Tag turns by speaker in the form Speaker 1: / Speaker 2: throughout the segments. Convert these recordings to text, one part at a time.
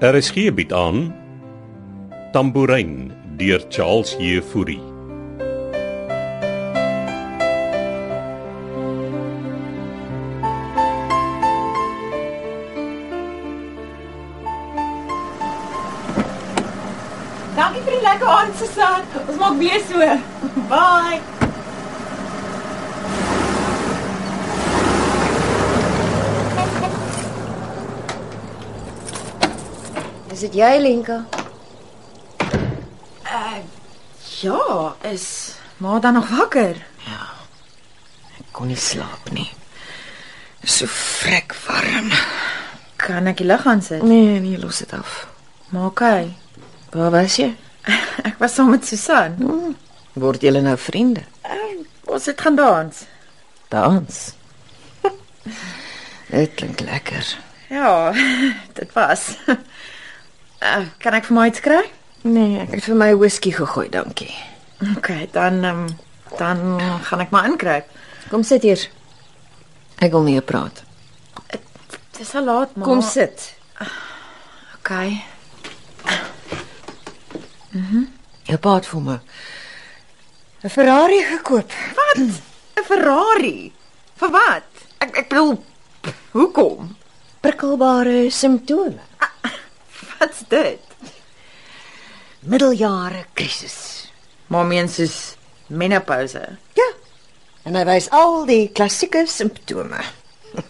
Speaker 1: RSG bied Er aan Tambourin deur Charles Jefouri.
Speaker 2: Dankie vir die lekker aand se saad. Ons maak weer so. Bye.
Speaker 3: Is dit jy, Lenka?
Speaker 2: Ja, is maar dan nog wakker.
Speaker 3: Kon nie slaap nie.
Speaker 4: So vrek warm.
Speaker 2: Kan ek die lig aan sit?
Speaker 4: Nee, nee, los dit af.
Speaker 2: Maar okay.
Speaker 4: Waar was jy?
Speaker 2: Ek was saam met Susan.
Speaker 4: Word julle nou vriende?
Speaker 2: Eh, Ons het gaan dans.
Speaker 4: Dans. dit klink lekker.
Speaker 2: Ja, dit was. Eh, Kan ek vir my iets kry?
Speaker 4: Nee, ek het vir my whisky gegooi, dankie.
Speaker 2: Okay, dan um, dan gaan ek maar inkruip.
Speaker 4: Kom sit hier. Ek wil met jou praat.
Speaker 2: Dis al laat, maar.
Speaker 4: Kom sit.
Speaker 2: Okay.
Speaker 4: Jou pa het vir my 'n Ferrari gekoop.
Speaker 2: Wat? 'n Ferrari. Vir wat?
Speaker 4: Ek ek bedoel
Speaker 2: Hoekom?
Speaker 4: prikkelbare simptome.
Speaker 2: Wat's dit?
Speaker 4: Middeljare krisis.
Speaker 2: Maar meen soos menopouse.
Speaker 4: Ja. En hy wys al die klassieke simptome.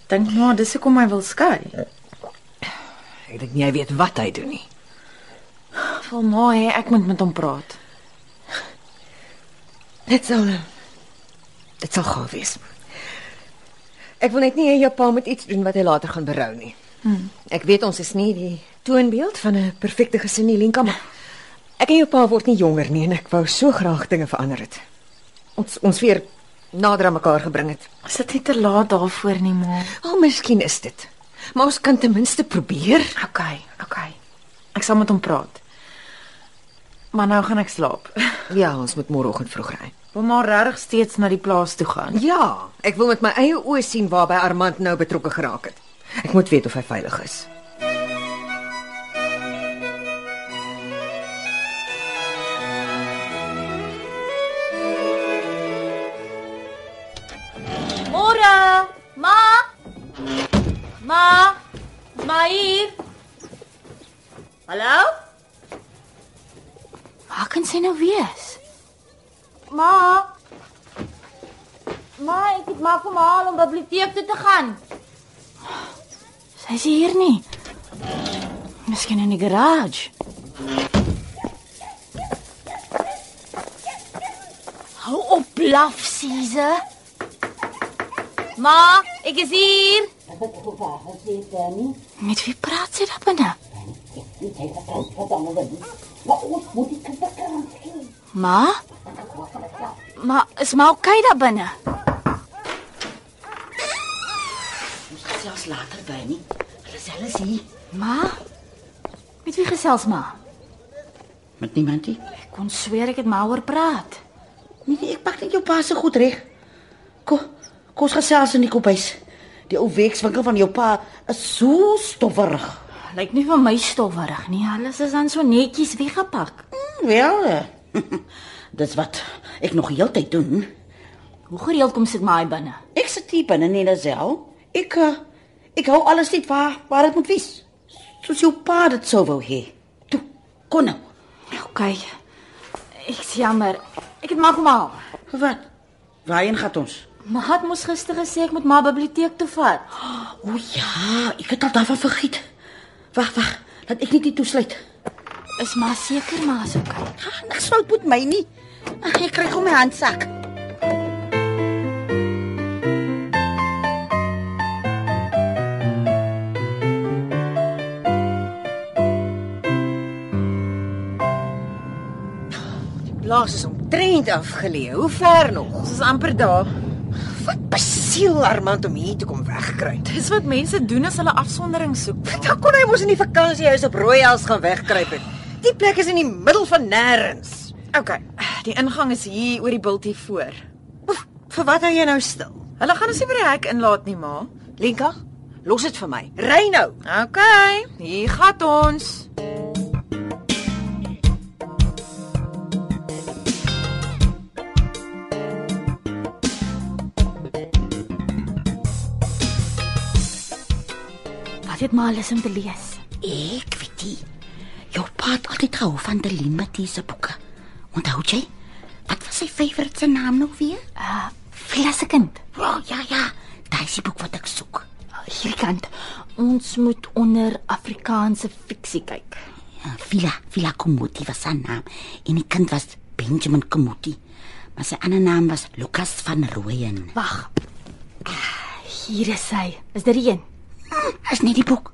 Speaker 2: Dink maar dis hoekom hy wil skei.
Speaker 4: Ek dink nie hy weet wat hy doen nie.
Speaker 2: Wil maar hê ek moet met hom praat.
Speaker 4: Dit sal eh, dit sal gaaf wees. Ek wil net nie hê jou pa moet iets doen wat hy later gaan berou nie. Hmm. Ek weet ons is nie die toonbeeld van 'n perfekte gesin nie, Lenka, maar ek en jou pa word nie jonger nie en ek wou so graag dinge verander het. Ons ons weer nader aan mekaar gebring het.
Speaker 2: Is dit nie te laat daarvoor nie, ma?
Speaker 4: Al oh, miskien is dit. Maar ons kan ten minste probeer.
Speaker 2: OK, OK. Ek sal met hom praat. Maar nou gaan ek slaap.
Speaker 4: Ja, ons moet môreoggend vroeg ry.
Speaker 2: Wil maar regtig steeds na die plaas toe gaan.
Speaker 4: Ja, ek wil met my eie oë sien waarby Armand nou betrokke geraak het. Ek moet weet of hy veilig is.
Speaker 5: Môre. Ma. Ma. Ma hier. Hallo? Waar kan sy nou wees?
Speaker 2: Ma,
Speaker 5: Ma, ek het maar kom haal om biblioteek toe te gaan. Sy is hier nie. Miskien in die garage. Hou op blaf, Siese. Ma, ek is hier. Met wie praat sy daar binne? Ma? Ma, is maar oké daar binne.
Speaker 6: Selfs later by nie. Hulle is hulle hier
Speaker 5: Ma? Met wie gesels ma?
Speaker 6: met niemandie.
Speaker 5: Ek kon sweer ek het maar oor praat.
Speaker 6: Nee, nee, ek pak net jou pa se goed reg. Kom, kom ons gesels in die kombuis. Die ou weekswinkel van jou pa is so stofferig.
Speaker 5: Lyk nie vir my stofferig nie. Alles is dan so netjies weggepak.
Speaker 6: Hm, Wel. eh, Dis wat ek nog heeltyd doen.
Speaker 5: Hoe gereeld kom sit my binne?
Speaker 6: Ek sit hier binne in Nazel. Ek eh, ek hou alles net waar waar dit moet wees. Soos jou pa dit sou wou hê. Toe, kon nou.
Speaker 5: OK. Ek is jammer. Ek het maar kom haal.
Speaker 6: Wat? Waarheen gaan ons?
Speaker 5: Ma het mos gister gesê ek moet maar biblioteek toe vat.
Speaker 6: O ja, ek het al daarvan vergeet. Wag, wag, laat ek net die toesluit.
Speaker 5: Is maar seker maar is OK.
Speaker 6: Ag, niks fout met my nie. Ag, ek kry gou my handsak.
Speaker 4: Plaas is omtrent afgeleë. Hoe ver nog?
Speaker 2: ons is amper daar.
Speaker 4: Wat besiel Armand om hier toe kom wegkruip?
Speaker 2: Dis wat mense doen as hulle afsondering soek.
Speaker 4: Dan kon hy mos in die vakansiehuis op Rooiels gaan wegkruip het. Die plek is in die middel van nêrens.
Speaker 2: OK, die ingang is hier oor die bultie voor.
Speaker 4: Oef, Vir wat hou jy nou stil?
Speaker 2: Hulle gaan ons nie by die hek inlaat nie, ma.
Speaker 4: Lenka, Los dit vir my. Ry nou.
Speaker 2: OK, hier gaan ons.
Speaker 5: Wat het maar alles om te lees?
Speaker 6: Ek weet nie. Jou pa het altyd gehou van Delien Matthys se boeke. Onthou jy? Wat was sy favourite se naam nou weer?
Speaker 5: Uh, Vlassekind.
Speaker 6: O, oh, ja ja. Daai is die boek wat ek soek.
Speaker 5: Hierkant. Ons moet onder Afrikaanse fiksie kyk.
Speaker 6: Ja, Vila, Vila Komuti was haar naam en die kind was Benjamin Komuti. Maar sy ander naam was Lukas van Rooyen.
Speaker 5: Wag. Ah, Hier is sy. Is dit die een?
Speaker 6: Hm, is nie die boek.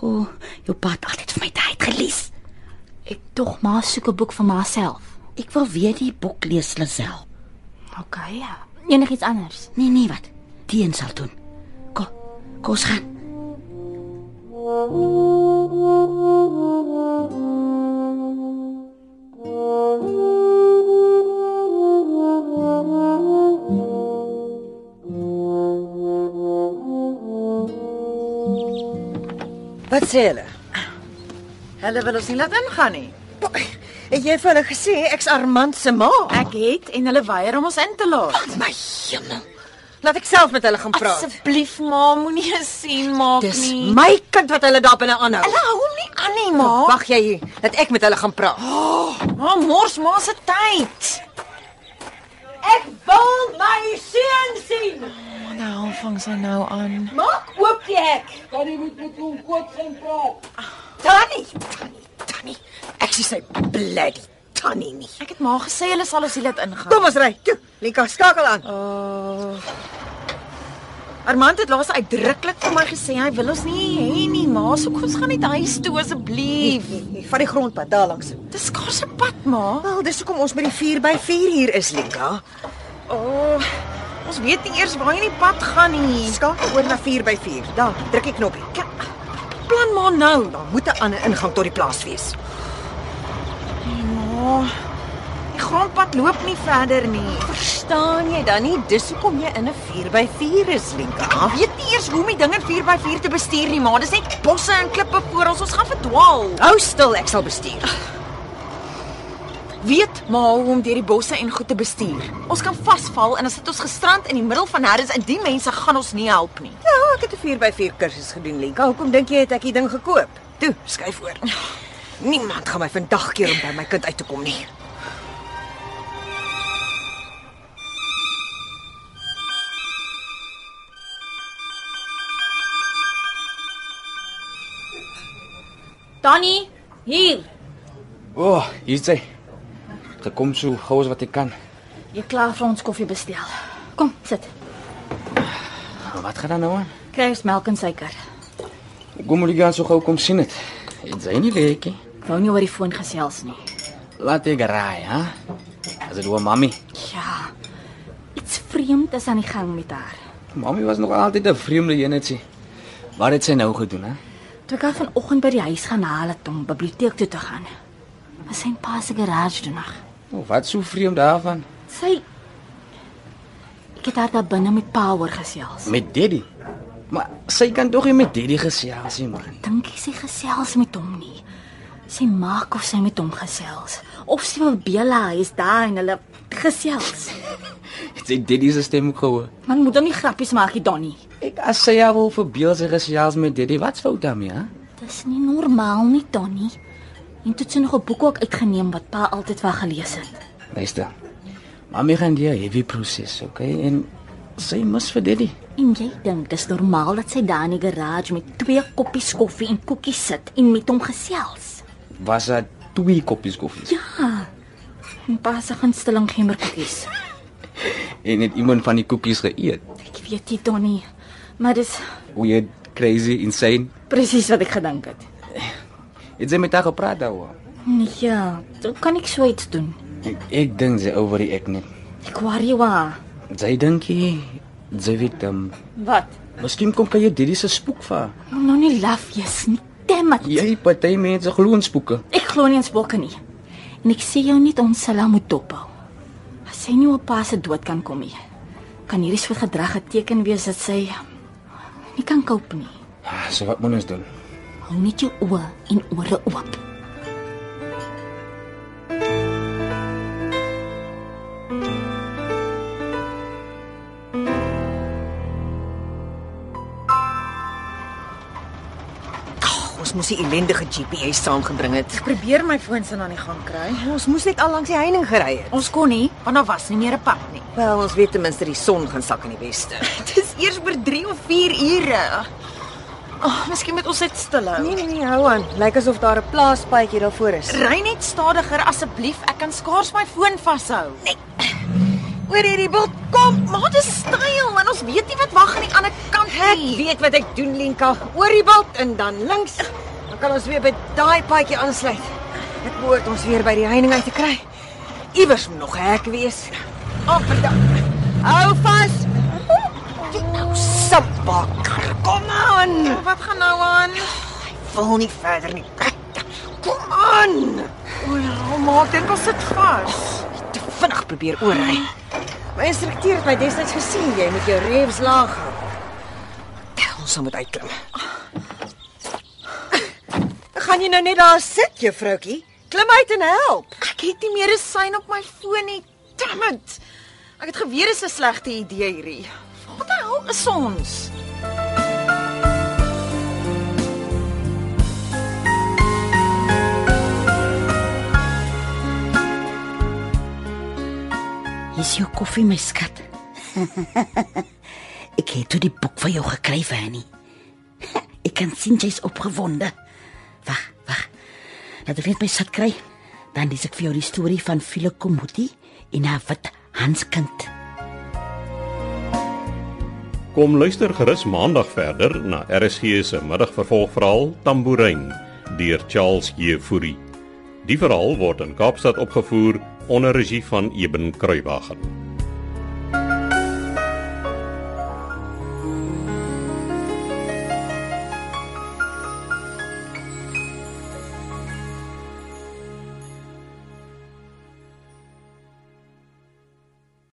Speaker 6: O, oh, jou pa het altyd vir my daai gelees.
Speaker 5: Ek tog maar soek 'n boek vir myself.
Speaker 6: Ek wil weer die boek lees Lisel.
Speaker 5: OK, ja. Enigiets anders.
Speaker 6: Nee, nee, wat? Die een sal doen. Kom, kom ons gaan.
Speaker 4: Wat sê hulle?
Speaker 2: Hulle wil ons nie laat ingaan nie.
Speaker 4: Po- Het jy vir hulle gesê ek's Armand se ma?
Speaker 2: Ek het en hulle weier om ons in te laat.
Speaker 4: my hemel. Laat ek self met hulle gaan praat.
Speaker 2: Asseblief ma, moenie 'n sien maak
Speaker 4: Dis
Speaker 2: nie.
Speaker 4: my kind wat hulle daar binne aanhou.
Speaker 2: Hulle Nou, hou hom nie aan nie, ma.
Speaker 4: Wag jy hier dat ek met hulle gaan praat.
Speaker 2: Ma mors ma se tyd.
Speaker 3: Ek wil my seun sien.
Speaker 2: Nou vang sy nou aan.
Speaker 3: Maak oop die hek.
Speaker 6: Tannie moet met hom koop en praat.
Speaker 3: Tannie, tannie, tannie. Ek sien sy bloody tannie nie.
Speaker 2: Ek het ma gesê hulle sal ons hier laat ingaan.
Speaker 4: Kom ons ry. Toe, Linka, skakel aan.
Speaker 2: Armand het laas uitdruklik vir my gesê hy wil ons nie hê nie, ma. So kom ons gaan net huis toe asseblief.
Speaker 4: Van die grondpad daar langs.
Speaker 2: Dis skaars 'n pad, ma.
Speaker 4: Wel, dis hoekom ons by die 4 by 4 hier is, Linka.
Speaker 2: O, oh, ons weet nie eers waarheen die pad gaan nie.
Speaker 4: Skakel oor na 4 by 4. Daar, druk die knoppie.
Speaker 2: K- Plan maar nou.
Speaker 4: Daar moet 'n ander ingang tot die plaas wees.
Speaker 2: Nee, Ma. Die grondpad loop nie verder nie.
Speaker 4: Verstaan jy dan nie? Dis hoekom jy in 'n 4 by 4 is, Linka.
Speaker 2: Ek weet nie eers hoe om die ding in 4x4 te bestuur nie, maar dis net bosse en klippe voor ons. Ons gaan verdwaal.
Speaker 4: Hou stil, ek sal bestuur.
Speaker 2: Weet maar hoe om deur die bosse en goed te bestuur. Ons kan vasval en dan sit ons gestrand in die middel van nêrens en die mense gaan ons nie help nie.
Speaker 4: Ja, ek het 'n 4x4 kursus gedoen, Lenka. Hoekom dink jy het ek die ding gekoop? Toe, skuif oor. Niemand gaan my vandag keer om by my kind uit te kom nie.
Speaker 5: Tannie, hier.
Speaker 7: O, oh, hier is hy. Gekom so gou as wat ek kan.
Speaker 5: Jy klaar vir ons koffie bestel. Kom, sit.
Speaker 7: Maar wat gaan dan nou aan?
Speaker 5: Kry ons melk en suiker.
Speaker 7: Kom moet ek gaan so gou kom sien dit. Dit sy nie lekker.
Speaker 5: Ek wou nie oor die foon gesels nie.
Speaker 7: Laat ek raai, hè? As dit oor mami.
Speaker 5: Ja. Iets vreemd is aan die gang met haar.
Speaker 7: Mami was nog altyd 'n vreemde enetjie. Wat het sy nou gedoen, hè?
Speaker 5: Toe ek haar vanoggend by die huis gaan haal het om biblioteek toe te gaan. Was sy in pa se garage toe nog.
Speaker 7: O, Oh, wat so vreemd daarvan?
Speaker 5: Sy Ek het haar daar binne met pa oor gesels.
Speaker 7: Met Daddy. Maar sy kan tog nie met Daddy gesels nie, man.
Speaker 5: Dink jy sy gesels met hom nie? Sy maak of sy met hom gesels of sy verbeel hy is daar en hulle gesels.
Speaker 7: Het sy Daddy se stem ook gehoor?
Speaker 5: Man moet dan nie grappies maak hier Donnie.
Speaker 7: Ek as sy haar wil verbeel sy gesels met Daddy, wat's fout daarmee, hè?
Speaker 5: Dis nie normaal nie Donnie. En toe het sy nog 'n boek ook uitgeneem wat pa altyd wou gelees het.
Speaker 7: Luister. Mami gaan deur 'n heavy proses, okay? En sy mis vir Daddy.
Speaker 5: En jy dink dis normaal dat sy daar in die garage met twee koppies koffie en koekies sit en met hom gesels?
Speaker 7: was daar twee koppies koffie. Ja.
Speaker 5: En pa se gunsteling gemmerkoekies.
Speaker 7: En het iemand van die koekies geëet.
Speaker 5: Ek weet nie, Donnie, maar dis
Speaker 7: Weird, crazy, insane.
Speaker 5: presies wat ek gedink het.
Speaker 7: Het sy met haar gepraat daaroor?
Speaker 5: Nee, dan kan ek so iets doen.
Speaker 7: Ek, ek dink sy oor die ek net.
Speaker 5: Ek worry wa.
Speaker 7: Sy dink jy sy weet um,
Speaker 5: Wat?
Speaker 7: miskien kom kan jy dit is 'n spook vir. haar.
Speaker 5: Moet nou nie laf jy's nie. Damn it.
Speaker 7: Jy party mense glo in spooke.
Speaker 5: Ek glo nie eens bokke nie. En ek sê jou nie ons sal haar moet dophou. As sy nie op pa se dood kan kom nie, kan hierdie soort gedrag 'n teken wees dat sy nie kan cope nie.
Speaker 7: Ah, So wat moet ons doen?
Speaker 5: Hou net jou oë en ore oop.
Speaker 4: Ons moes die ellendige GPS saamgebring het. Hm,
Speaker 2: Probeer my foon se aan die gang kry.
Speaker 4: Ons moes net al langs die heining gery het.
Speaker 2: Ons kon nie, want daar was nie meer 'n pad nie.
Speaker 4: Wel, ons weet ten minste die son gaan sak in die weste.
Speaker 2: Dit is eers oor 3 of 4 ure. Ag, oh, miskien moet ons dit stilhou.
Speaker 4: Nee nee nee, hou aan. Lyk asof daar 'n plaaspaadjie daarvoor is.
Speaker 2: Ry net stadiger asseblief. Ek kan skaars my foon vashou. Nee.
Speaker 4: Oor hierdie bult.
Speaker 2: Kom, maar dit is styl en ons weet nie wat wag aan die ander kant
Speaker 4: Ek
Speaker 2: nie.
Speaker 4: weet wat ek doen, Lenka. Oor die bult en dan links. Dan kan ons weer by daai paadjie aansluit. Dit behoort ons weer by die heining uit te kry. Iewers moet nog 'n hek wees.
Speaker 2: Oh, verdomme.
Speaker 4: Hou vas. Dit nou sabbak. Kom aan.
Speaker 2: Wat gaan nou aan?
Speaker 4: Wil nie verder nie. Kom aan.
Speaker 2: O, ja, maar ek dink ons sit vas.
Speaker 4: te vinnig probeer oorry. My instrukteur het my destyds gesien jy moet jou reeves laag hou. Ons sal moet uitklim. Gaan jy nou net daar sit, juffroukie? Klim uit en help.
Speaker 2: Ek het nie meer 'n sein op my foon nie. Damn it. Ek het geweet dit is 'n slegte idee hierdie. Wat die hel is ons?
Speaker 6: Hier's jou koffie, my skat. ek het toe die boek vir jou gekry, Fanny. ek kan sien jy's opgewonde. Wag, wag. Laat ek net my sat kry. Dan lees ek vir jou die storie van Philip Komuti en haar wit Hanskind.
Speaker 1: Kom luister gerus maandag verder na RSG se middagvervolgverhaal Tambourine deur Charles Jefouri. Die verhaal word in Kaapstad opgevoer onder regie van Eben Kruiwagen.